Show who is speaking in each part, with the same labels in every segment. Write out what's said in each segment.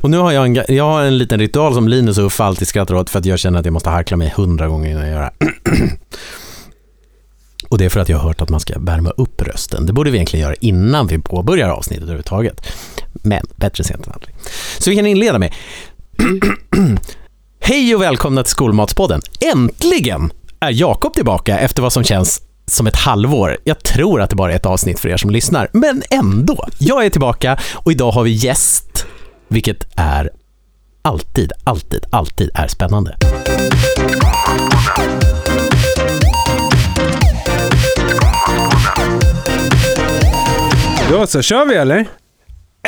Speaker 1: Och nu har jag, en, ga- jag har en liten ritual som Linus och Uffe alltid skrattar åt för att jag känner att jag måste harkla mig hundra gånger innan jag gör det här. Och det är för att jag har hört att man ska värma upp rösten. Det borde vi egentligen göra innan vi påbörjar avsnittet överhuvudtaget. Men bättre sent än aldrig. Så vi kan inleda med Hej och välkomna till Skolmatspodden. Äntligen är Jakob tillbaka efter vad som känns som ett halvår. Jag tror att det bara är ett avsnitt för er som lyssnar, men ändå. Jag är tillbaka och idag har vi gäst, vilket är alltid, alltid, alltid är spännande.
Speaker 2: Då så, kör vi eller?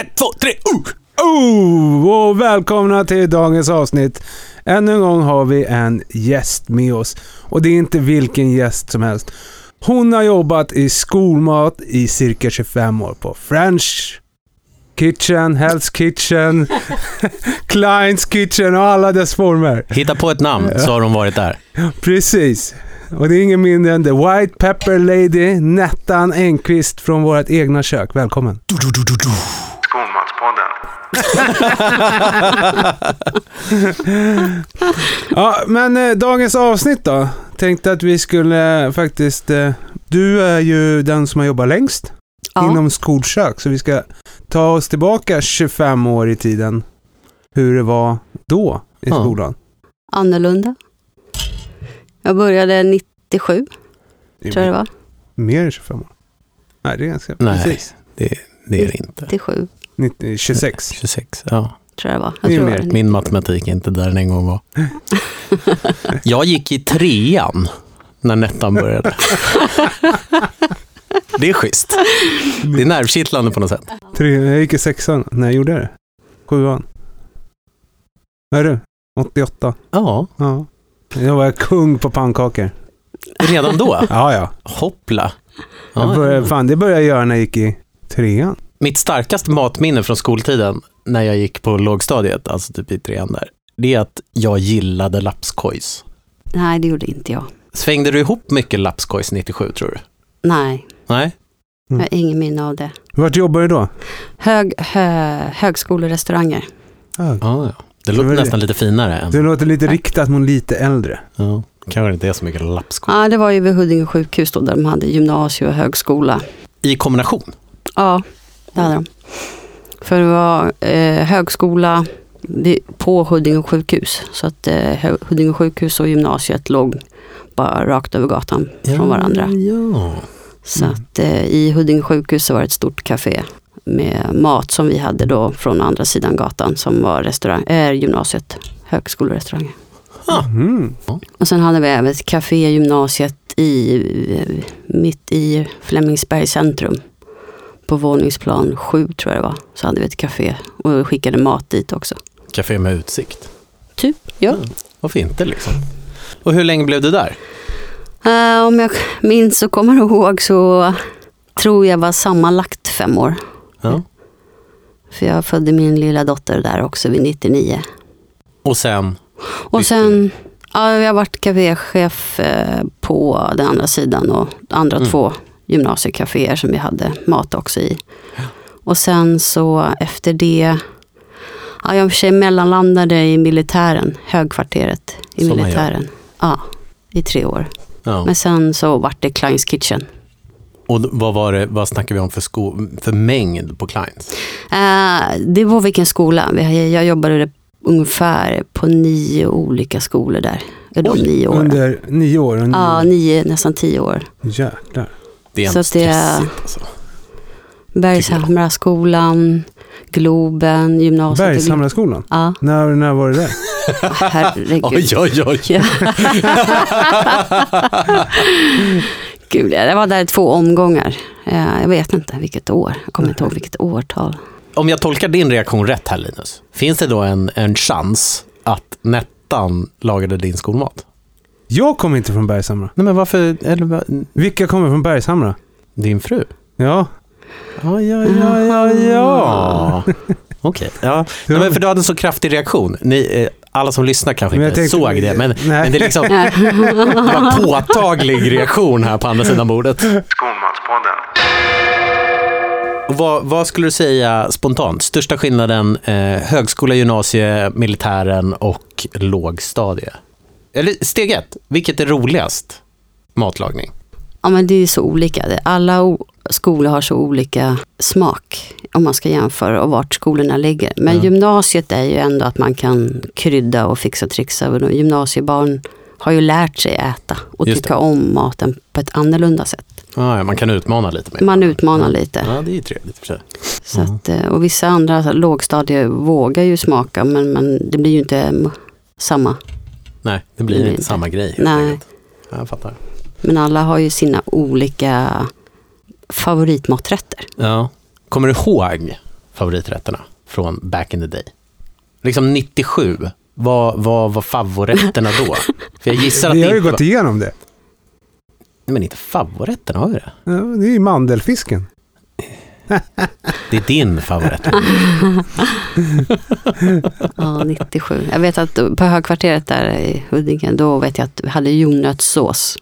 Speaker 1: Ett, två, tre, uh!
Speaker 2: Oh, och välkomna till dagens avsnitt. Ännu en gång har vi en gäst med oss. Och det är inte vilken gäst som helst. Hon har jobbat i skolmat i cirka 25 år på French Kitchen, Hell's Kitchen, Kleins Kitchen och alla dess former.
Speaker 1: Hitta på ett namn så har de varit där.
Speaker 2: Precis. Och det är ingen mindre än The White Pepper Lady, Nettan Engqvist från vårt egna kök. Välkommen.
Speaker 3: Skolmanspodden.
Speaker 2: Ja, men eh, dagens avsnitt då? Tänkte att vi skulle eh, faktiskt... Eh, du är ju den som har jobbat längst
Speaker 4: Ja.
Speaker 2: inom skolkök, så vi ska ta oss tillbaka 25 år i tiden. Hur det var då i
Speaker 1: Ja.
Speaker 2: skolan.
Speaker 4: Annorlunda. Jag började 97, tror jag det var.
Speaker 2: Mer än 25 år. Nej, det är ganska...
Speaker 1: Nej.
Speaker 2: Precis.
Speaker 1: Det är det inte.
Speaker 4: 97,
Speaker 2: 90, 26.
Speaker 1: 26, ja.
Speaker 4: tror jag det var.
Speaker 2: Det
Speaker 4: Jag
Speaker 2: är
Speaker 4: tror
Speaker 2: mer.
Speaker 4: det var
Speaker 1: Min matematik är inte där den en gång var. Jag gick i trean när Nettan började. Det är schysst. Det är nervkittlande på något sätt.
Speaker 2: Tre, jag gick i sexan. när jag gjorde det? Sjuan. Vad är du? 88.
Speaker 1: Ja,
Speaker 2: Ja. Jag var kung på pannkakor.
Speaker 1: redan då.
Speaker 2: Ja, ja.
Speaker 1: Hoppla.
Speaker 2: Jag
Speaker 1: Ja,
Speaker 2: började, fan, det började jag göra när jag gick i trean.
Speaker 1: Mitt starkaste matminne från skoltiden när jag gick på lågstadiet, alltså typ i trean där, det är att jag gillade lapskojs.
Speaker 4: Nej, det gjorde inte jag.
Speaker 1: Svängde du ihop mycket lapskojs 97 tror du?
Speaker 4: Nej,
Speaker 1: Nej?
Speaker 4: jag har ingen minne av det.
Speaker 2: Vart jobbar du då?
Speaker 4: Hög, hö, högskolorestauranger.
Speaker 1: Ja, ja. Det låter
Speaker 2: Det var det.
Speaker 1: nästan lite finare än...
Speaker 2: Det låter lite riktat mot lite äldre.
Speaker 1: Ja. Kanske inte är så mycket lapskojs.
Speaker 4: Ja, det var ju vid Huddinge sjukhus då, där de hade gymnasie och högskola.
Speaker 1: I kombination.
Speaker 4: Ja, det hade de. För det var eh, högskola vid- på Huddinge sjukhus. Så att eh, Hö- Huddinge sjukhus och gymnasiet låg bara rakt över gatan från varandra.
Speaker 1: Ja.
Speaker 4: Så att eh, i Huddinge sjukhus så var det ett stort café med mat som vi hade då från andra sidan gatan som var restaurang, eh, gymnasiet, högskolorestaurang.
Speaker 2: Mm.
Speaker 4: Och sen hade vi även ett café, gymnasiet i, eh, mitt i Flemingsberg centrum. På våningsplan sju tror jag det var, så hade vi ett café och skickade mat dit också.
Speaker 1: Café med utsikt.
Speaker 4: Typ, ja.
Speaker 1: Varför inte liksom? Och hur länge blev du där?
Speaker 4: Eh, om jag minns och kommer ihåg så tror jag var sammanlagt fem år.
Speaker 1: Ja.
Speaker 4: För jag födde min lilla dotter där också vid 99.
Speaker 1: Och sen?
Speaker 4: Och sen, ja, jag har varit kaféchef eh, på den andra sidan och andra
Speaker 1: Mm.
Speaker 4: två gymnasiekaféer som vi hade mat också i. Och sen så efter det, ja, jag i och för sig mellanlandade i militären, högkvarteret i
Speaker 1: Som man gör.
Speaker 4: militären. Ja, i tre år.
Speaker 1: Ja.
Speaker 4: Men sen så vart det Kleins Kitchen.
Speaker 1: Och d- vad, var det, vad snackar vi om för, sko, för mängd på clients?
Speaker 4: Eh, det var vilken skola. Vi- Jag jobbade ungefär på nio olika skolor där. De
Speaker 1: Oj,
Speaker 4: nio åren.
Speaker 2: Under nio år? Under
Speaker 4: Ja, nio, nästan tio år.
Speaker 2: Jäklar.
Speaker 1: Det är
Speaker 4: Så
Speaker 1: ändå
Speaker 4: att det är-
Speaker 1: stressigt alltså.
Speaker 4: Bergshamraskolan, Globen, gymnasiet.
Speaker 2: Bergshamraskolan?
Speaker 4: Ja,
Speaker 2: När, när var det där?
Speaker 4: herregud.
Speaker 1: Oj, oj, oj.
Speaker 4: Ja. Gud, ja, det var där i två omgångar. Eh, Jag vet inte vilket år. Jag kommer inte ihåg vilket årtal.
Speaker 1: Om jag tolkar din reaktion rätt här Linus, finns det då en, en chans att Nettan lagade din skolmat?
Speaker 2: Jag kommer inte från Bergshamra.
Speaker 1: Nej men varför, eller vad-
Speaker 2: Vilka kommer från Bergshamra?
Speaker 1: din fru?
Speaker 2: Ja.
Speaker 1: Ja, ja, ja, ja,
Speaker 2: Ah.
Speaker 1: ja. Okej. Ja. Nej, men för du hade en så kraftig reaktion. Ni, eh, alla som lyssnar kanske
Speaker 2: Men jag
Speaker 1: inte
Speaker 2: tänkte-
Speaker 1: såg det, men,
Speaker 2: Nej.
Speaker 1: men det, är liksom, det var en påtaglig reaktion här på andra sidan bordet.
Speaker 3: Skolmanspodden.
Speaker 1: Vad, vad skulle du säga spontant? Största skillnaden eh, högskola, gymnasie, militären och lågstadie? Eller steg ett, vilket är roligast? Matlagning.
Speaker 4: Ja, men det är så olika. Det- Alla o- skolor har så olika smak om man ska jämföra och vart skolorna ligger. Men
Speaker 1: Ja.
Speaker 4: gymnasiet är ju ändå att man kan krydda och fixa och trixa. Och de- Gymnasiebarn har ju lärt sig äta och
Speaker 1: Just
Speaker 4: tycka om maten på ett annorlunda sätt.
Speaker 1: Ah, ja, man kan utmana lite mer.
Speaker 4: Man utmanar lite.
Speaker 1: Ja, det är ju trevligt i och för sig.
Speaker 4: Så att, eh, och vissa andra så här, lågstadier vågar ju smaka men, men det blir ju inte mm, samma.
Speaker 1: Nej, det blir
Speaker 4: Det
Speaker 1: inte
Speaker 4: blir inte.
Speaker 1: samma grej. helt
Speaker 4: Nej.
Speaker 1: enkelt. Ja, Jag fattar.
Speaker 4: Men alla har ju sina olika favoritmaträtter.
Speaker 1: Ja. Kommer du ihåg favoriträtterna från back in the day? Liksom 97, vad, vad var favoritterna då? För jag gissar att
Speaker 2: Vi
Speaker 1: det
Speaker 2: har ju
Speaker 1: inte
Speaker 2: gått
Speaker 1: var...
Speaker 2: igenom det.
Speaker 1: Nej, men inte favoritterna, har vi det?
Speaker 2: Ja, Det är ju mandelfisken.
Speaker 1: Det är din favorit.
Speaker 4: Ah, Ja, 97. Jag vet att på Högkvarteret där i Huddinge, då vet jag att vi hade jordnötssås.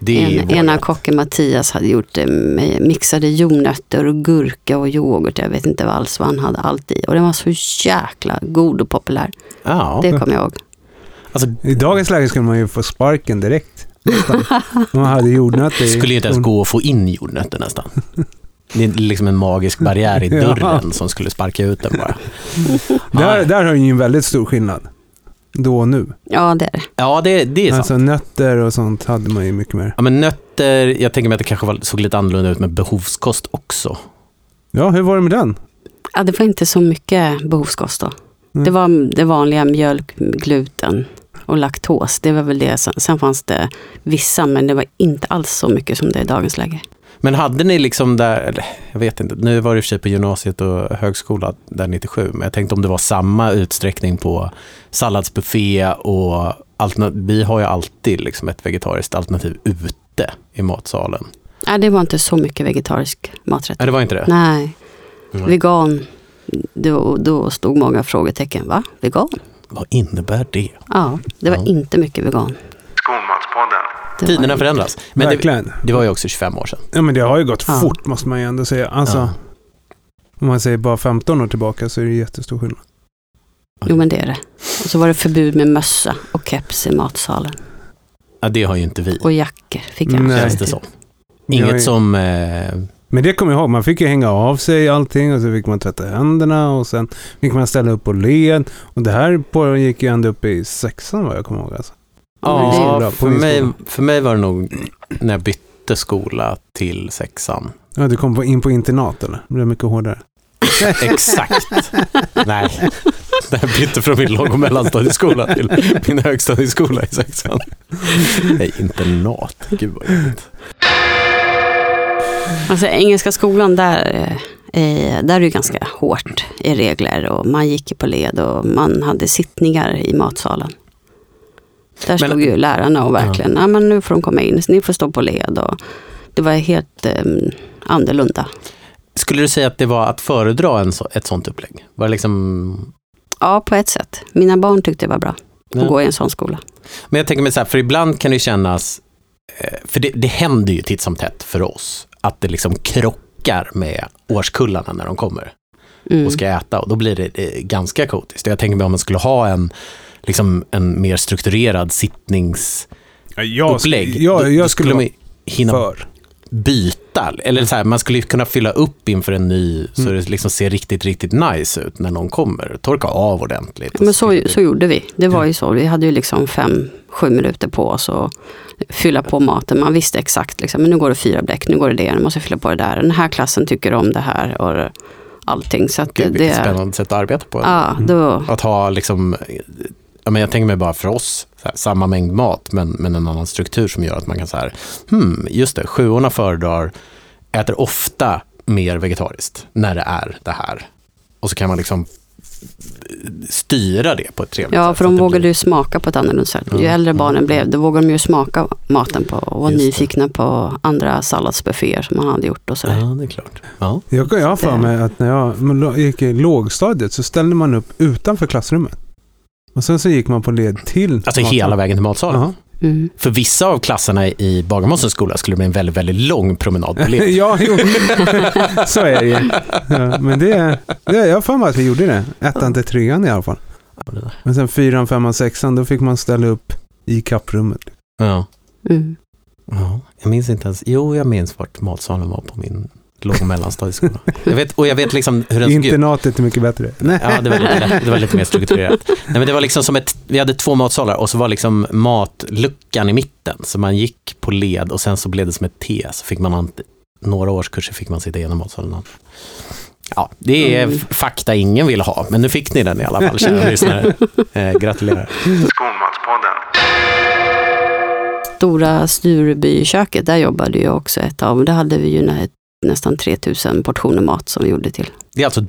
Speaker 1: Det är
Speaker 4: En,
Speaker 1: vår
Speaker 4: ena
Speaker 1: rätt.
Speaker 4: kocken Mattias hade gjort eh, med mixade jordnötter och gurka och yoghurt. Jag vet inte vad alls vad han hade allt i. Och den var så jäkla god och populär.
Speaker 1: Ja,
Speaker 4: Det kommer jag ihåg.
Speaker 1: alltså
Speaker 2: I dagens läge skulle man ju få sparken direkt. nästan. Om man hade jordnötter
Speaker 1: det
Speaker 2: i-
Speaker 1: skulle ju inte ens gå att få in jordnötter nästan. Det är liksom en magisk barriär i
Speaker 2: Ja.
Speaker 1: dörren som skulle sparka ut den bara.
Speaker 2: Där, där har ju en väldigt stor skillnad. Då och nu.
Speaker 4: Ja, det är det.
Speaker 1: Ja, det, det är sant.
Speaker 2: Alltså nötter och sånt hade man ju mycket mer.
Speaker 1: Ja, men nötter, jag tänker mig att det kanske var, såg lite annorlunda ut med behovskost också.
Speaker 2: Ja, hur var det med den?
Speaker 4: Ja, det var inte så mycket behovskost då.
Speaker 2: Mm.
Speaker 4: Det var det vanliga mjölk, gluten och laktos. Det var väl det. Sen, sen fanns det vissa, men det var inte alls så mycket som det är i dagens läge.
Speaker 1: Men hade ni liksom där, eller, jag vet inte, nu var det i och för sig på gymnasiet och högskola där 97, men jag tänkte om det var samma utsträckning på salladsbuffé och alterna- vi har ju alltid liksom ett vegetariskt alternativ ute i matsalen.
Speaker 4: Nej, det var inte så mycket vegetarisk maträtt.
Speaker 1: Nej, det var inte det?
Speaker 4: Nej,
Speaker 1: Mm.
Speaker 4: vegan. Då, då stod många frågetecken. Va? Vegan?
Speaker 1: Vad innebär det?
Speaker 4: Ja, det var
Speaker 1: Ja.
Speaker 4: inte mycket vegan.
Speaker 3: Skolmanspodden.
Speaker 4: Det var
Speaker 1: Tiderna
Speaker 4: inte-
Speaker 1: förändras. Men det,
Speaker 2: Verkligen.
Speaker 1: det var ju också 25 år sedan.
Speaker 2: Ja, men det har ju gått
Speaker 4: Ja.
Speaker 2: fort måste man ju ändå säga. Alltså,
Speaker 1: Ja.
Speaker 2: om man säger bara 15 år tillbaka så är det jättestor skillnad.
Speaker 4: Jo, men det är det. Och så var det förbud med mössa och keps i matsalen.
Speaker 1: Ja, det har ju inte vi,
Speaker 4: Och jackor fick jag.
Speaker 2: Nej.
Speaker 1: känns det som.
Speaker 2: Jag är-
Speaker 1: Inget som... Eh,
Speaker 2: Men det kommer jag ihåg, man fick ju hänga av sig allting och så fick man tvätta händerna och sen fick man ställa upp och le. Och det här pågick ju ända upp i sexan vad jag kommer ihåg. Alltså.
Speaker 4: Men det är
Speaker 2: ju bra,
Speaker 1: Ja,
Speaker 2: på
Speaker 1: för
Speaker 2: min
Speaker 1: mig,
Speaker 2: skola.
Speaker 1: för mig var det nog när jag bytte skola till sexan.
Speaker 2: Ja, du kom på, in på internat eller? Det blev mycket hårdare.
Speaker 1: Exakt. Nej. När jag bytte från min låg och mellanstadieskola till min högstadieskola i sexan. Nej, internat. Gud vad jobbigt.
Speaker 4: Alltså Engelska skolan, där, eh, där är det ganska hårt i regler och man gick ju på led och man hade sittningar i matsalen. Där
Speaker 1: Men-
Speaker 4: stod ju lärarna och verkligen, ja. men nu får de komma in, ni får stå på led. Och det var helt eh, annorlunda.
Speaker 1: Skulle du säga att det var att föredra en så, ett sånt upplägg? Var det liksom...
Speaker 4: Ja, på ett sätt. Mina barn tyckte det var bra att
Speaker 1: Ja.
Speaker 4: gå i en sån skola.
Speaker 1: Men jag tänker mig så här, för ibland kan det ju kännas, eh, för det, det händer ju titt som tätt för oss, att det liksom krockar med årskullarna när de kommer.
Speaker 4: Mm.
Speaker 1: och ska äta och då blir det eh, ganska kaotiskt. Jag tänker mig om man skulle ha en, liksom en mer strukturerad sittningsupplägg.
Speaker 2: Jag,
Speaker 1: då-
Speaker 2: jag,
Speaker 1: då
Speaker 2: jag skulle
Speaker 1: man
Speaker 2: vara
Speaker 1: ju hinna
Speaker 2: för.
Speaker 1: byta. Eller så här, man skulle ju kunna fylla upp inför en ny så
Speaker 2: Mm.
Speaker 1: det liksom ser riktigt, riktigt nice ut när någon kommer. Torka av ordentligt. och
Speaker 4: Men så,
Speaker 1: fylla i.
Speaker 4: så gjorde vi. Det var ju så. Vi hade ju liksom fem, sju minuter på oss att fylla på maten. Man visste exakt, liksom, men nu går det fyra bläck, nu går det det, nu måste jag fylla på det där. Den här klassen tycker om det här och allting. Så att
Speaker 1: Gud,
Speaker 4: det
Speaker 1: vilket
Speaker 4: är...
Speaker 1: spännande sätt att arbeta på.
Speaker 4: Ja, då,
Speaker 1: Att ha liksom, ja, men jag tänker mig bara för oss, så här, samma mängd mat men, men en annan struktur som gör att man kan så här, hmm, just det, sjuorna föredrar, äter ofta mer vegetariskt när det är det här. Och så kan man liksom styra det på ett trevligt
Speaker 4: ja,
Speaker 1: sätt.
Speaker 4: för
Speaker 1: så att
Speaker 4: de
Speaker 1: det
Speaker 4: vågade
Speaker 1: blir-
Speaker 4: ju smaka på ett annorlunda sätt. Ju
Speaker 1: Ja,
Speaker 4: äldre
Speaker 1: ja,
Speaker 4: barnen
Speaker 1: ja.
Speaker 4: blev, då vågade de ju smaka maten på och var
Speaker 1: Just det.
Speaker 4: nyfikna på andra salladsbufféer som man hade gjort och sådär.
Speaker 1: Ja, det är klart. Ja.
Speaker 2: Jag, jag har för
Speaker 4: Det-
Speaker 2: mig att när jag men lo- gick i lågstadiet så ställde man upp utanför klassrummet. Och sen så gick man på led till.
Speaker 1: Alltså
Speaker 2: matsalen.
Speaker 1: hela vägen till matsalen.
Speaker 2: Ja.
Speaker 4: Mm.
Speaker 1: För vissa av klasserna i Bagarmossens skola skulle det bli en väldigt, väldigt lång promenad på led.
Speaker 2: ja, jo. så är det ju. Ja, men det, det, jag har för mig att vi gjorde det. Ettan till trean i alla fall. Men sen fyran, femman, sexan, då fick man ställa upp i kapprummet.
Speaker 1: Ja.
Speaker 4: Mm.
Speaker 1: Ja, jag minns inte ens. Jo, jag minns vart matsalen var på min låg och mellanstadieskola. Jag vet, och jag vet liksom hur den såg ut.
Speaker 2: Internatet är mycket bättre. Nej.
Speaker 1: Ja, det var lite, det var lite mer strukturerat. Nej, men det var liksom som ett, vi hade två matsalar och så var liksom matluckan i mitten. Så man gick på led och sen så blev det som ett T. Så fick man ant- några årskurser fick man sitta igenom matsalen. Ja, det är f- fakta ingen vill ha, men nu fick ni den i alla fall, kära lyssnare. Eh, gratulerar.
Speaker 4: Stora Sturebyköket, där jobbade jag också ett av. Där hade vi ju nä, nästan 3000 portioner mat som vi gjorde till.
Speaker 1: Det är alltså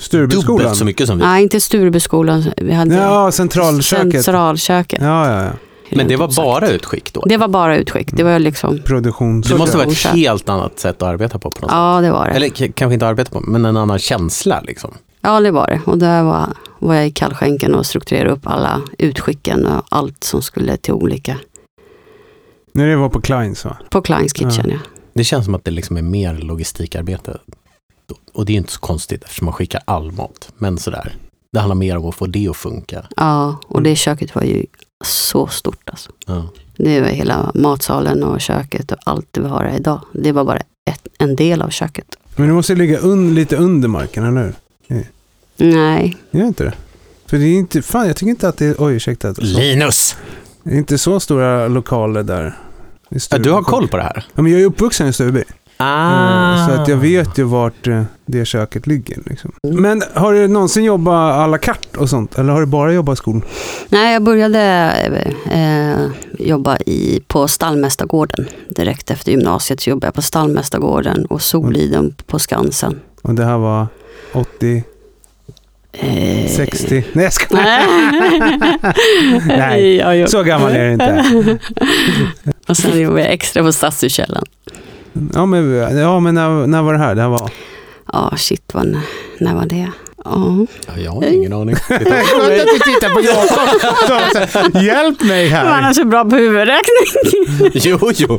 Speaker 2: Sturebyskolan.
Speaker 1: dubbelt så mycket som vi.
Speaker 4: Nej, inte Sturebyskolan. Vi hade
Speaker 2: Ja, centralköket.
Speaker 4: Centralköket.
Speaker 2: Ja, ja, ja.
Speaker 1: Men det var
Speaker 4: Exakt.
Speaker 1: bara Mm. utskick då.
Speaker 4: Det var bara utskick. Det var liksom...
Speaker 2: Produktions...
Speaker 1: Det måste vara ett
Speaker 4: Orsak.
Speaker 1: helt annat sätt att arbeta på. på något
Speaker 4: Ja, det var det.
Speaker 1: sätt. Eller k- kanske inte arbeta på, men en annan känsla. Liksom.
Speaker 4: Ja, det var det. Och där var, var jag i kallskänken och strukturerade upp alla utskicken och allt som skulle till olika.
Speaker 2: När det var på Kleins va?
Speaker 4: På Kleins Kitchen, ja.
Speaker 1: Det känns som att det liksom är mer logistikarbete. Och det är ju inte så konstigt eftersom man skickar all mat. Men sådär, det handlar mer om att få det att funka.
Speaker 4: Ja, och det köket var ju så stort alltså.
Speaker 1: Ja.
Speaker 4: Det var hela matsalen och köket och allt vi har här idag. Det var bara ett, en del av köket.
Speaker 2: Men det måste ju ligga un, lite under marken, eller hur?
Speaker 4: Nej,
Speaker 2: Gör inte det? För det är inte... Fan, jag tycker inte att det är... Oj, ursäkta. att-
Speaker 1: Linus!
Speaker 2: Det är inte så stora lokaler där. I
Speaker 1: Ja,
Speaker 2: Stureby.
Speaker 1: du har koll på det här?
Speaker 2: Ja, men jag är uppvuxen i Stureby.
Speaker 1: Ah.
Speaker 2: Eh, Så att jag vet ju vart eh, det köket ligger. Liksom. Men har du någonsin jobbat à la carte och sånt? Eller har du bara jobbat i skolan?
Speaker 4: Nej jag började eh, jobba i, på Stallmästargården. Direkt efter gymnasiet så jobbade jag på Stallmästargården och Soliden på Skansen.
Speaker 2: Och det här var 80,
Speaker 4: Eh,
Speaker 2: 60? Nej, jag skojar. Nej,
Speaker 4: Nej, jag jobb-
Speaker 2: Så gammal är du inte.
Speaker 4: och sen jobbade jag extra på Stadshuskällaren.
Speaker 2: Ja, men, ja, men när, när var det här? Det här var...
Speaker 4: Ja, shit, vad, n- när var det? Ja,
Speaker 1: Ja, jag har ingen aning. Titta.
Speaker 2: Skönt att du tittar på Jakob. Hjälp mig här.
Speaker 4: så bra på huvudräkning.
Speaker 1: jo, jo.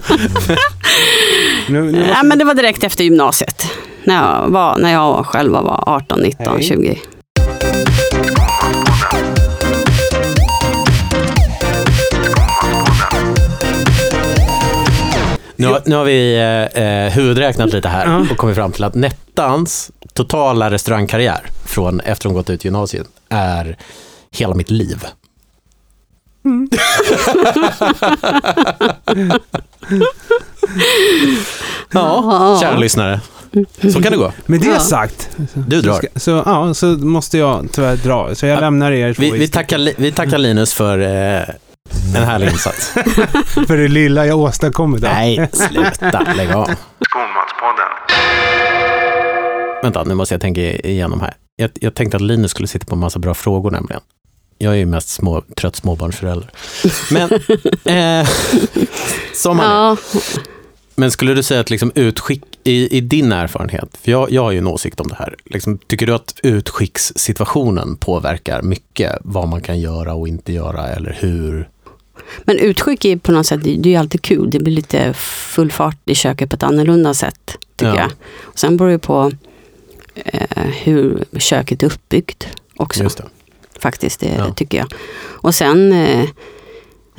Speaker 2: Nu, nu måste-
Speaker 4: Nej, men det var direkt efter gymnasiet. När jag, var, när jag själv var 18, 19,
Speaker 2: Hej.
Speaker 4: 20.
Speaker 1: Nu, har- nu har vi eh, eh, huvudräknat lite här
Speaker 2: Ja.
Speaker 1: och kommit fram till att Nettans totala restaurangkarriär från efter hon gått ut gymnasiet är hela mitt liv. ja, kära lyssnare. Så kan det gå.
Speaker 2: Med det
Speaker 4: Ja.
Speaker 2: sagt.
Speaker 1: Du drar.
Speaker 2: Så, så, ja, så måste jag tyvärr dra. Så jag
Speaker 1: Ja,
Speaker 2: lämnar er två
Speaker 1: Vi,
Speaker 2: i
Speaker 1: vi,
Speaker 2: sticket.
Speaker 1: tackar, Li- vi tackar Linus för eh, en härlig insats.
Speaker 2: För det lilla jag åstadkommit. där.
Speaker 1: Nej, sluta. Lägg av. Vänta, nu måste jag tänka igenom här. Jag, jag tänkte att Linus skulle sitta på en massa bra frågor nämligen. Jag är ju mest små, trött småbarnsförälder. Men, eh, som han är.
Speaker 4: Ja,
Speaker 1: Men skulle du säga att liksom utskick, i, i din erfarenhet, för jag, jag har ju en åsikt om det här, liksom, tycker du att utskickssituationen påverkar mycket vad man kan göra och inte göra eller hur?
Speaker 4: Men utskick är på något sätt, det är ju alltid kul. Det blir lite full fart i köket på ett annorlunda sätt, tycker
Speaker 1: Ja.
Speaker 4: jag. Och sen beror det på eh, hur köket är uppbyggt också,
Speaker 1: Just det.
Speaker 4: faktiskt, det
Speaker 1: Ja.
Speaker 4: tycker jag. Och sen, eh,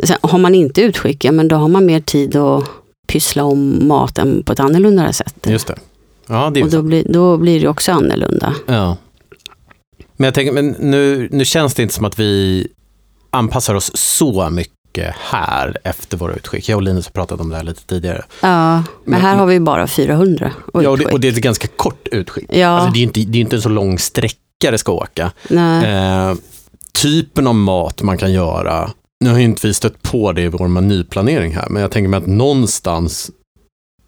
Speaker 4: sen har man inte utskick, ja, men då har man mer tid att pyssla om maten på ett annorlunda sätt.
Speaker 1: Just det. Ja, det är ju
Speaker 4: Och då blir, då blir det också annorlunda.
Speaker 1: Ja. Men jag tänker, men nu, nu känns det inte som att vi anpassar oss så mycket här efter våra utskick. Jag och Linus har pratat om det här lite tidigare.
Speaker 4: Ja, men,
Speaker 1: Men-
Speaker 4: här har vi bara 400 och
Speaker 1: Ja, och, det,
Speaker 4: utskick.
Speaker 1: och det är ett ganska kort utskick.
Speaker 4: Ja,
Speaker 1: Alltså, det är ju inte, det är ju inte en så lång sträcka det ska åka.
Speaker 4: nej.
Speaker 1: Eh, typen av mat man kan göra, nu har ju inte vi stött på det i vår menyplanering här, men jag tänker mig att någonstans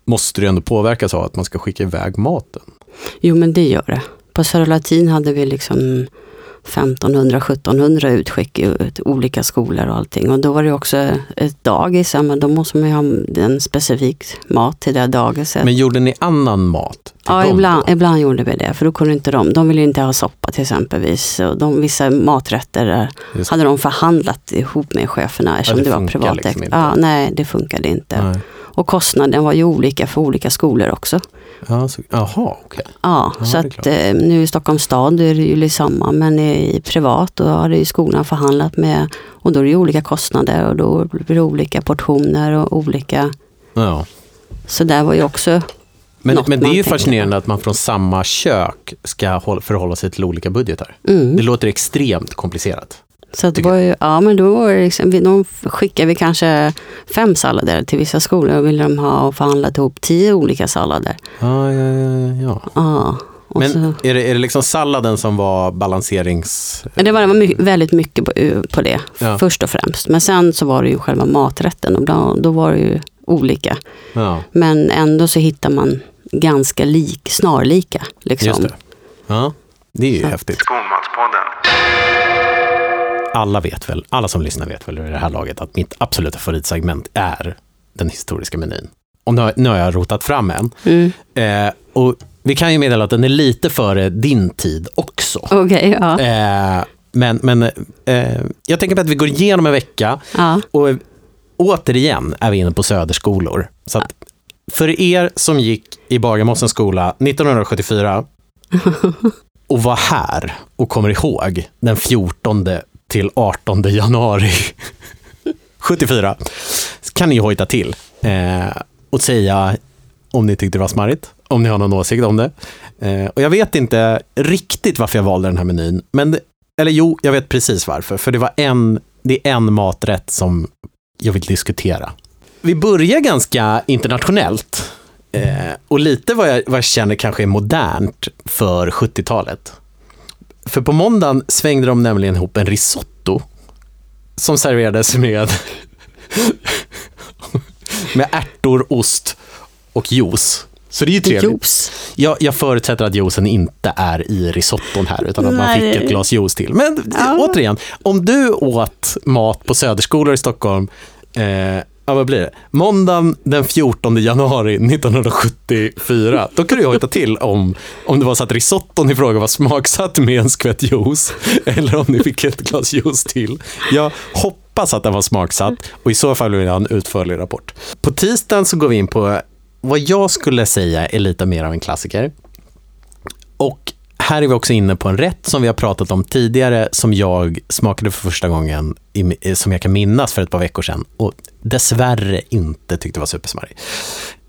Speaker 1: måste det ändå påverkas av att man ska skicka iväg maten.
Speaker 4: Jo, men det gör det. På Södra Latin hade vi liksom 1500-1700 utskick i- till olika skolor och allting. Och då var det också ett dagis, ja, men då måste man ju ha en specifik mat till det här dagiset.
Speaker 1: Men gjorde ni annan mat? till
Speaker 4: Ja,
Speaker 1: dem
Speaker 4: ibland,
Speaker 1: då?
Speaker 4: ibland gjorde vi det, för då kunde inte de. De ville inte ha soppa till exempelvis. Och de, vissa maträtter där
Speaker 1: Just det.
Speaker 4: hade de förhandlat ihop med cheferna eftersom
Speaker 1: det
Speaker 4: det, var
Speaker 1: funkar
Speaker 4: privatägt.
Speaker 1: liksom inte.
Speaker 4: ja, nej, det funkade inte.
Speaker 1: Nej.
Speaker 4: Och kostnaden var ju olika för olika skolor också.
Speaker 1: Ja, så, aha, okej.
Speaker 4: Ja,
Speaker 1: Ja,
Speaker 4: så
Speaker 1: det är
Speaker 4: att
Speaker 1: klart.
Speaker 4: eh, nu i Stockholms stad då är det ju liksom samma, men i i privat då har det ju skolan förhandlat med och då är det ju olika kostnader och då blir det olika portioner och olika.
Speaker 1: Ja.
Speaker 4: Så där var ju också,
Speaker 1: Men,
Speaker 4: Något
Speaker 1: men det är
Speaker 4: man
Speaker 1: ju
Speaker 4: tänker på.
Speaker 1: fascinerande att man från samma kök ska håll- förhålla sig till olika budgetar.
Speaker 4: mm.
Speaker 1: Det låter extremt komplicerat.
Speaker 4: Så att det
Speaker 1: Tycker
Speaker 4: var ju, ja men då var det liksom, vi- de skickade vi kanske fem sallader till vissa skolor och ville de ha förhandlat ihop tio olika sallader.
Speaker 1: Ja, ja, ja, ja.
Speaker 4: Ja, och
Speaker 1: Men
Speaker 4: så,
Speaker 1: är det, är det liksom salladen som var balanserings...
Speaker 4: men det var det var my, väldigt mycket på, på det,
Speaker 1: Ja.
Speaker 4: först och främst. Men sen så var det ju själva maträtten och bland, då var det ju olika.
Speaker 1: Ja,
Speaker 4: Men ändå så hittar man ganska lik, snarlika. Liksom.
Speaker 1: just det. Ja, det är ju häftigt.
Speaker 3: Skolmanspodden.
Speaker 1: Alla vet väl, alla som lyssnar vet väl i det här laget att mitt absoluta favoritsegment är den historiska menyn. Om nu har, nu har jag rotat fram en.
Speaker 4: Mm.
Speaker 1: Eh, och vi kan ju meddela att den är lite före din tid också.
Speaker 4: Okej, ja.
Speaker 1: Eh, men men eh, jag tänker på att vi går igenom en vecka
Speaker 4: ja.
Speaker 1: och återigen är vi inne på söderskolor. Så att för er som gick i Bagarmossens skola 1974 och var här och kommer ihåg den 14 till 18 januari 74 så kan ni hojta till eh, och säga om ni tyckte det var smarrigt, om ni har någon åsikt om det. Eh, och jag vet inte riktigt varför jag valde den här menyn, men eller jo, jag vet precis varför, för det var en, det är en maträtt som jag vill diskutera. Vi börjar ganska internationellt eh, och lite vad jag, vad jag känner kanske är modernt för 70-talet. För på måndagen svängde de nämligen ihop en risotto som serverades med, med ärtor, ost och juice. Så det är ju trevligt.
Speaker 4: Juice.
Speaker 1: Jag, jag förutsätter att juicen inte är i risotton här, utan att man
Speaker 4: Nej.
Speaker 1: fick ett glas juice till. Men
Speaker 4: Ja.
Speaker 1: återigen, om du åt mat på söderskolor i Stockholm, eh, ja, vad blir det? Måndagen den 14 januari 1974, då kunde jag hojta till om, om det var så att risotton i fråga var smaksatt med en skvätt juice, eller om ni fick ett glas juice till. Jag hoppas att den var smaksatt och i så fall vill jag ha en utförlig rapport. På tisdagen så går vi in på vad jag skulle säga är lite mer av en klassiker. Och här är vi också inne på en rätt som vi har pratat om tidigare som jag smakade för första gången, i, eh, som jag kan minnas för ett par veckor sedan och dessvärre inte tyckte var supersmarrig.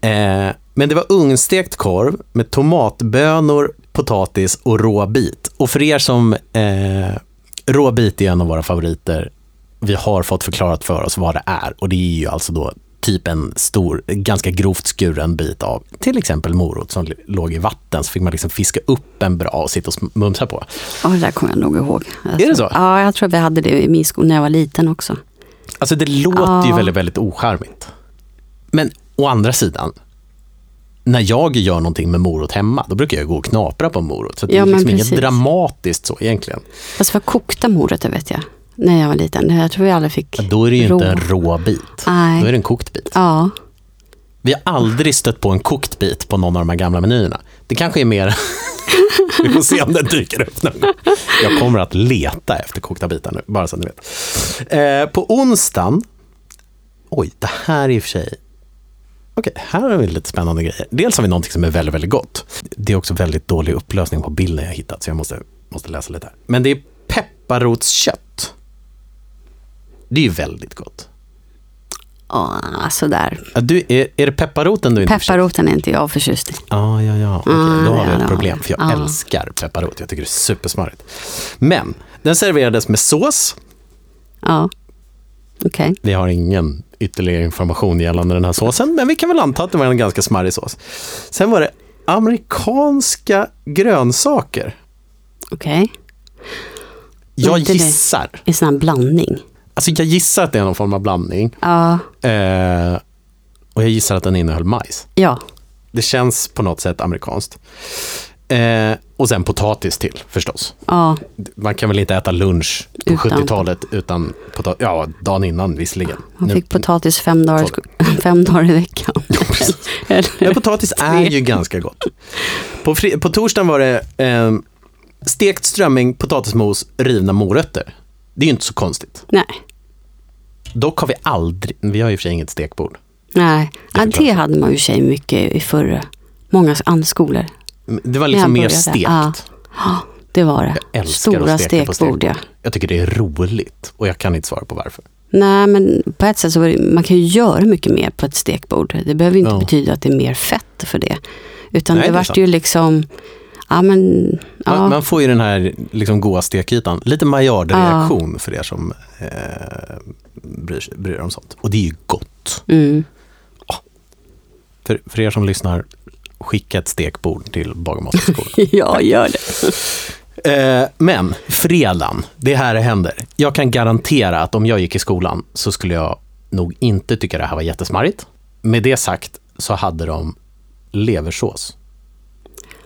Speaker 1: Eh, men det var ugnstekt korv med tomatbönor, potatis och råbit. Och för er som... Eh, råbit är en av våra favoriter. Vi har fått förklarat för oss vad det är och det är ju alltså då typ en stor, ganska grovt skuren bit av till exempel morot som låg i vatten, så fick man liksom fiska upp en bra och sitta och sm- mumsa på.
Speaker 4: Ja, det där kommer jag nog ihåg. Jag
Speaker 1: Är det
Speaker 4: tror-
Speaker 1: så?
Speaker 4: Ja, jag tror vi hade det i min skola när jag var liten också.
Speaker 1: Alltså det låter ju
Speaker 4: Ja.
Speaker 1: väldigt, väldigt ocharmigt. Men å andra sidan, när jag gör någonting med morot hemma, då brukar jag gå och knapra på en morot. Så det
Speaker 4: Ja,
Speaker 1: är
Speaker 4: men
Speaker 1: liksom inget
Speaker 4: precis.
Speaker 1: dramatiskt så egentligen.
Speaker 4: Fast det var kokta morötter vet jag, när jag var liten. Jag tror vi aldrig fick.
Speaker 1: Ja, Då är det ju
Speaker 4: Rå.
Speaker 1: inte en rå bit, då är
Speaker 4: Nej.
Speaker 1: det en kokt bit.
Speaker 4: Ja,
Speaker 1: Vi har aldrig stött på en kokt bit på någon av de här gamla menyerna. Det kanske är mer... Vi får se om den dyker upp någon gång. Jag kommer att leta efter kokta bitar nu, bara så att ni vet. Eh, på onsdagen... Oj, det här är i och för sig... Okej, här har vi lite spännande grejer. Dels har vi någonting som är väldigt, väldigt gott. Det är också väldigt dålig upplösning på bilden jag hittat, så jag måste, måste läsa lite här. Men det är pepparrotskött. Det är ju väldigt gott.
Speaker 4: ja sådär.
Speaker 1: Ja, Du, är, är det pepparroten du är förtjust i?
Speaker 4: Pepparroten är inte jag förtjust i.
Speaker 1: Ja, ja, ja. Okej,
Speaker 4: Ah,
Speaker 1: då har
Speaker 4: ja,
Speaker 1: vi
Speaker 4: ja.
Speaker 1: ett problem, för jag
Speaker 4: Ja.
Speaker 1: älskar pepparrot. Jag tycker det är supersmarrigt. Men, den serverades med sås.
Speaker 4: Ja, okej.
Speaker 1: Vi har ingen ytterligare information gällande den här såsen, men vi kan väl anta att det var en ganska smarrig sås. Sen var det amerikanska grönsaker.
Speaker 4: Okej.
Speaker 1: Jag
Speaker 4: Inte det.
Speaker 1: gissar.
Speaker 4: En sån här blandning.
Speaker 1: Alltså jag gissar att det är någon form av blandning.
Speaker 4: Ja,
Speaker 1: Eh, och jag gissar att den innehöll majs.
Speaker 4: ja.
Speaker 1: Det känns på något sätt amerikanskt. Eh, Och sen potatis till förstås.
Speaker 4: Ja,
Speaker 1: Man kan väl inte äta lunch på
Speaker 4: Utan.
Speaker 1: 70-talet utan potatis. Ja, dagen innan visserligen.
Speaker 4: man
Speaker 1: Nu-
Speaker 4: fick potatis fem dagar, i
Speaker 1: Tolv.
Speaker 4: sko- fem dagar i veckan.
Speaker 1: Ja, precis. Men
Speaker 4: Eller,
Speaker 1: potatis är ju ganska gott. På, fri- på torsdagen var det eh, stekt strömming, potatismos, rivna morötter. Det är ju inte så konstigt.
Speaker 4: nej,
Speaker 1: Dock har vi aldrig, vi har ju i och för sig inget stekbord.
Speaker 4: nej.
Speaker 1: Det
Speaker 4: Ja,
Speaker 1: förklarar
Speaker 4: det hade man ju i och för sig mycket i förr. Många andra skolor.
Speaker 1: Men Det var liksom
Speaker 4: När
Speaker 1: mer
Speaker 4: jag började,
Speaker 1: stekt.
Speaker 4: ja. Ja, det var det.
Speaker 1: Jag älskar
Speaker 4: Stora
Speaker 1: att steka på
Speaker 4: stekbord, ja.
Speaker 1: Jag tycker det är roligt och jag kan inte svara på varför.
Speaker 4: Nej, men på ett sätt så var det, man kan ju göra mycket mer på ett stekbord. Det behöver ju inte
Speaker 1: Ja.
Speaker 4: betyda att det är mer fett för det. Utan
Speaker 1: Nej, det
Speaker 4: det
Speaker 1: är
Speaker 4: vart
Speaker 1: sant.
Speaker 4: ju liksom, ja men, ja,
Speaker 1: Man, man får ju den här liksom goa stekytan. Lite Maillard-reaktion för er som eh, bryr, sig- bryr er om sånt. Och det är ju gott.
Speaker 4: mm,
Speaker 1: För, för er som lyssnar, skicka ett stekbord till Bagarmossens
Speaker 4: ja gör det.
Speaker 1: Eh, men fredagen, det är här det händer. Jag kan garantera att om jag gick i skolan så skulle jag nog inte tycka det här var jättesmarrigt. Med det sagt så hade de leversås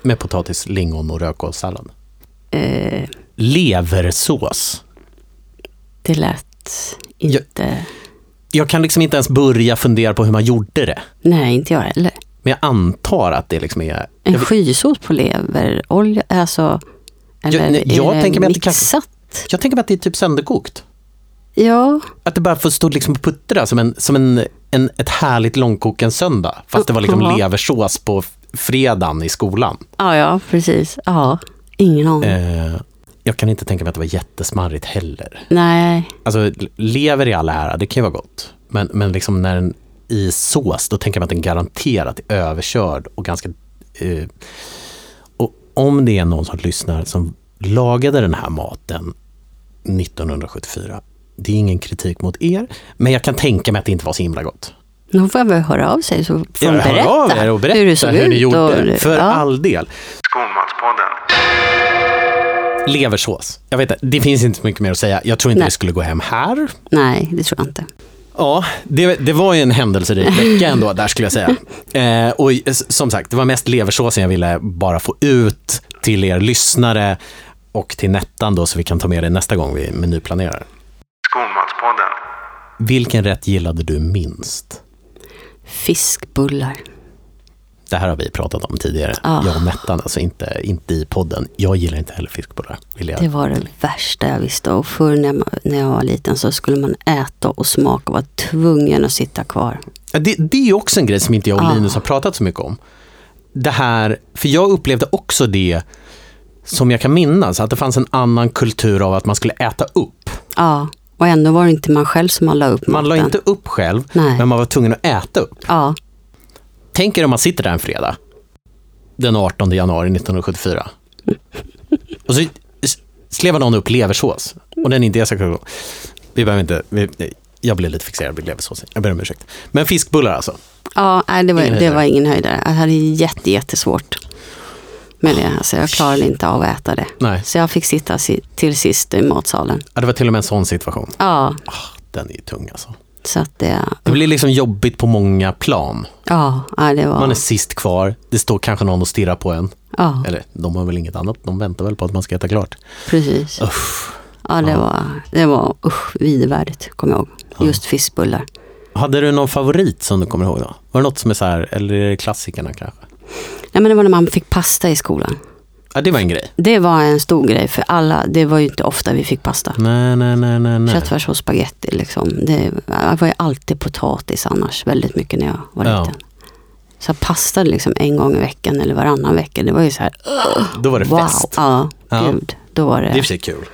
Speaker 1: med potatis, lingon och rödkålssallad.
Speaker 4: Eh,
Speaker 1: Leversås.
Speaker 4: det lät inte,
Speaker 1: Jag kan liksom inte ens börja fundera på hur man gjorde det.
Speaker 4: nej inte jag heller.
Speaker 1: Men jag antar att det liksom är...
Speaker 4: En
Speaker 1: jag vet-
Speaker 4: skysås på leverolja, alltså, eller
Speaker 1: nej, jag
Speaker 4: är
Speaker 1: tänker
Speaker 4: det
Speaker 1: mig att det kan-
Speaker 4: mixat?
Speaker 1: Jag tänker mig att det är typ sönderkokt.
Speaker 4: Ja,
Speaker 1: Att det bara får stå liksom och puttra som, en, som en, en, ett härligt långkoken söndag. Fast det var liksom
Speaker 4: Ja.
Speaker 1: leversås på f- fredagen i skolan.
Speaker 4: ja, ja precis. Ja, ingen aning.
Speaker 1: Eh, jag kan inte tänka mig att det var jättesmarrigt heller.
Speaker 4: Nej,
Speaker 1: Alltså, l- lever i all ära, det kan ju vara gott. Men, men liksom när den i sås, då tänker man att den garanterat är överkörd och ganska... Eh, och om det är någon som lyssnar som lagade den här maten 1974, det är ingen kritik mot er, men jag kan tänka mig att det inte var så himla gott.
Speaker 4: då får jag väl höra av sig så får de
Speaker 1: Ja,
Speaker 4: berätta,
Speaker 1: Hör av er och berätta
Speaker 4: hur det såg
Speaker 1: hur
Speaker 4: ut.
Speaker 1: ni gjorde.
Speaker 4: och,
Speaker 1: för
Speaker 4: ja.
Speaker 1: all del.
Speaker 2: Skolmatspodden.
Speaker 1: Leversås. Jag vet inte, det finns inte så mycket mer att säga. Jag tror inte
Speaker 4: Nej.
Speaker 1: det skulle gå hem här.
Speaker 4: Nej, det tror jag inte.
Speaker 1: Ja, det, det var ju en händelserik vecka ändå, där skulle jag säga. Eh, och i- s- som sagt, det var mest leversåsen jag ville bara få ut till er lyssnare och till Nettan då, så vi kan ta med det nästa gång vi menyplanerar.
Speaker 2: Skolmatspodden.
Speaker 1: Vilken rätt gillade du minst?
Speaker 4: Fiskbullar.
Speaker 1: Det här har vi pratat om tidigare,
Speaker 4: Ah.
Speaker 1: jag och Nettan, alltså inte, inte i podden. Jag gillar inte heller fiskbullar, vill jag
Speaker 4: Det var det värsta jag visste. Och förr när, man, när jag var liten så skulle man äta och smaka och vara tvungen att sitta kvar.
Speaker 1: Ja, Det, det är ju också en grej som inte jag och
Speaker 4: Ja.
Speaker 1: Linus har pratat så mycket om. Det här, för jag upplevde också det som jag kan minnas, att det fanns en annan kultur av att man skulle äta upp.
Speaker 4: Ja, och ändå var det inte man själv som man la upp
Speaker 1: Man la
Speaker 4: maten.
Speaker 1: inte upp själv,
Speaker 4: Nej.
Speaker 1: men man var tvungen att äta upp.
Speaker 4: Ja,
Speaker 1: Tänk er om man sitter där en fredag, den 18 januari 1974. Och så s- slevar någon upp leversås, och den inte är så god. Vi behöver inte, vi, jag blev lite fixerad vid leversåsen, jag ber om ursäkt. Men fiskbullar alltså.
Speaker 4: ja nej, det, var,
Speaker 1: Ingen
Speaker 4: det
Speaker 1: höjdare.
Speaker 4: var ingen höjdare. Jag hade jätte, jättesvårt med det. Alltså, jag klarade inte av att äta det.
Speaker 1: Nej,
Speaker 4: Så jag fick sitta si- till sist i matsalen.
Speaker 1: ja, det var till och med en sån situation.
Speaker 4: Ja,
Speaker 1: Den är ju tung alltså.
Speaker 4: så att det...
Speaker 1: Det blir liksom jobbigt på många plan.
Speaker 4: Ja, nej, det
Speaker 1: Man är
Speaker 4: var...
Speaker 1: sist kvar, det står kanske någon och stirrar på en.
Speaker 4: Ja,
Speaker 1: Eller de har väl inget annat, de väntar väl på att man ska äta klart.
Speaker 4: precis.
Speaker 1: Uff.
Speaker 4: Ja, det
Speaker 1: Ja.
Speaker 4: var, det var usch, vidervärdigt, kommer jag ihåg.
Speaker 1: Ja.
Speaker 4: Just fiskbullar.
Speaker 1: Hade du någon favorit som du kommer ihåg då? Var det något som är så här, eller är det klassikerna kanske?
Speaker 4: Nej, men det var när man fick pasta i skolan.
Speaker 1: Ja, det var en grej.
Speaker 4: Det var en stor grej för alla. Det var ju inte ofta vi fick pasta.
Speaker 1: Nej, nej, nej, nej, nej.
Speaker 4: Köttfärs och spagetti liksom. Det var ju alltid potatis annars väldigt mycket när jag var
Speaker 1: Ja.
Speaker 4: liten. Så pasta liksom en gång i veckan eller varannan vecka. Det var ju så här,
Speaker 1: Då var det
Speaker 4: wow.
Speaker 1: fest.
Speaker 4: Ja,
Speaker 1: Ja.
Speaker 4: gud. Då var
Speaker 1: Det är i och
Speaker 4: det
Speaker 1: för sig kul.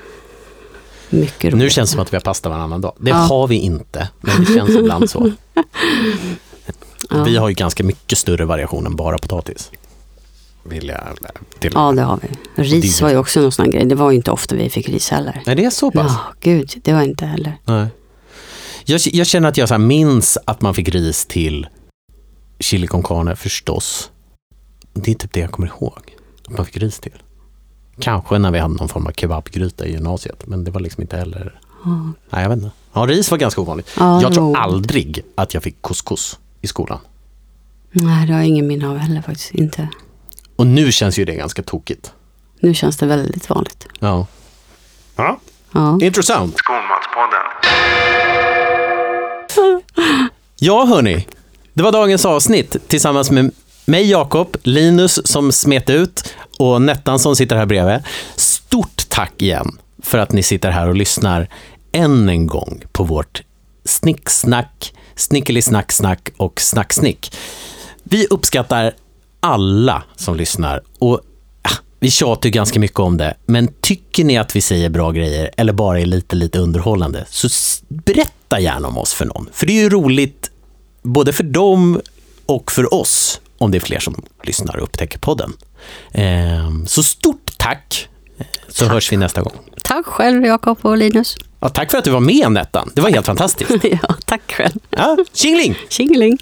Speaker 4: mycket roligt.
Speaker 1: Nu känns det som att vi har pasta varannan dag. Det
Speaker 4: Ja.
Speaker 1: har vi inte, men det känns ibland så.
Speaker 4: ja.
Speaker 1: Vi har ju ganska mycket större variation än bara potatis. Vill jag eh, till
Speaker 4: ja, det har vi. Ris
Speaker 1: det-
Speaker 4: var ju också någon sån här grej. Det var ju inte ofta vi fick ris heller.
Speaker 1: Nej, det är så pass.
Speaker 4: Ja, gud. Det var inte heller.
Speaker 1: Nej. Jag, jag känner att jag så här minns att man fick ris till chili con carne förstås. Det är typ det jag kommer ihåg. Att man fick ris till. Kanske när vi hade någon form av kebabgryta i gymnasiet, men det var liksom inte heller...
Speaker 4: Ja,
Speaker 1: Nej, jag vet inte. Ja, ris var ganska ovanligt.
Speaker 4: ja,
Speaker 1: jag
Speaker 4: det
Speaker 1: tror
Speaker 4: var-
Speaker 1: aldrig att jag fick couscous i skolan.
Speaker 4: Nej, det har jag ingen minne av heller faktiskt. Inte.
Speaker 1: Och nu känns ju det ganska tokigt.
Speaker 4: Nu känns det väldigt vanligt.
Speaker 1: Ja.
Speaker 2: Ja.
Speaker 4: Ja.
Speaker 1: Intressant.
Speaker 3: Skolmatspodden.
Speaker 1: Ja, hörni. Det var dagens avsnitt tillsammans med mig, Jakob, Linus som smet ut och Nettan som sitter här bredvid. Stort tack igen för att ni sitter här och lyssnar än en gång på vårt snicksnack, snickelisnacksnack och snacksnick. Vi uppskattar alla som lyssnar och ah, vi tjatar ju ganska mycket om det. Men tycker ni att vi säger bra grejer eller bara är lite, lite underhållande så s- berätta gärna om oss för någon. För det är ju roligt både för dem och för oss om det är fler som lyssnar och upptäcker podden. Ehm, Så stort tack, Eh, så hörs vi nästa gång.
Speaker 4: Tack själv Jakob och Linus.
Speaker 1: Ja, tack för att du var med, Nettan. Det var helt fantastiskt.
Speaker 4: ja, tack själv.
Speaker 1: Ja, tjingeling!
Speaker 4: Tjingeling!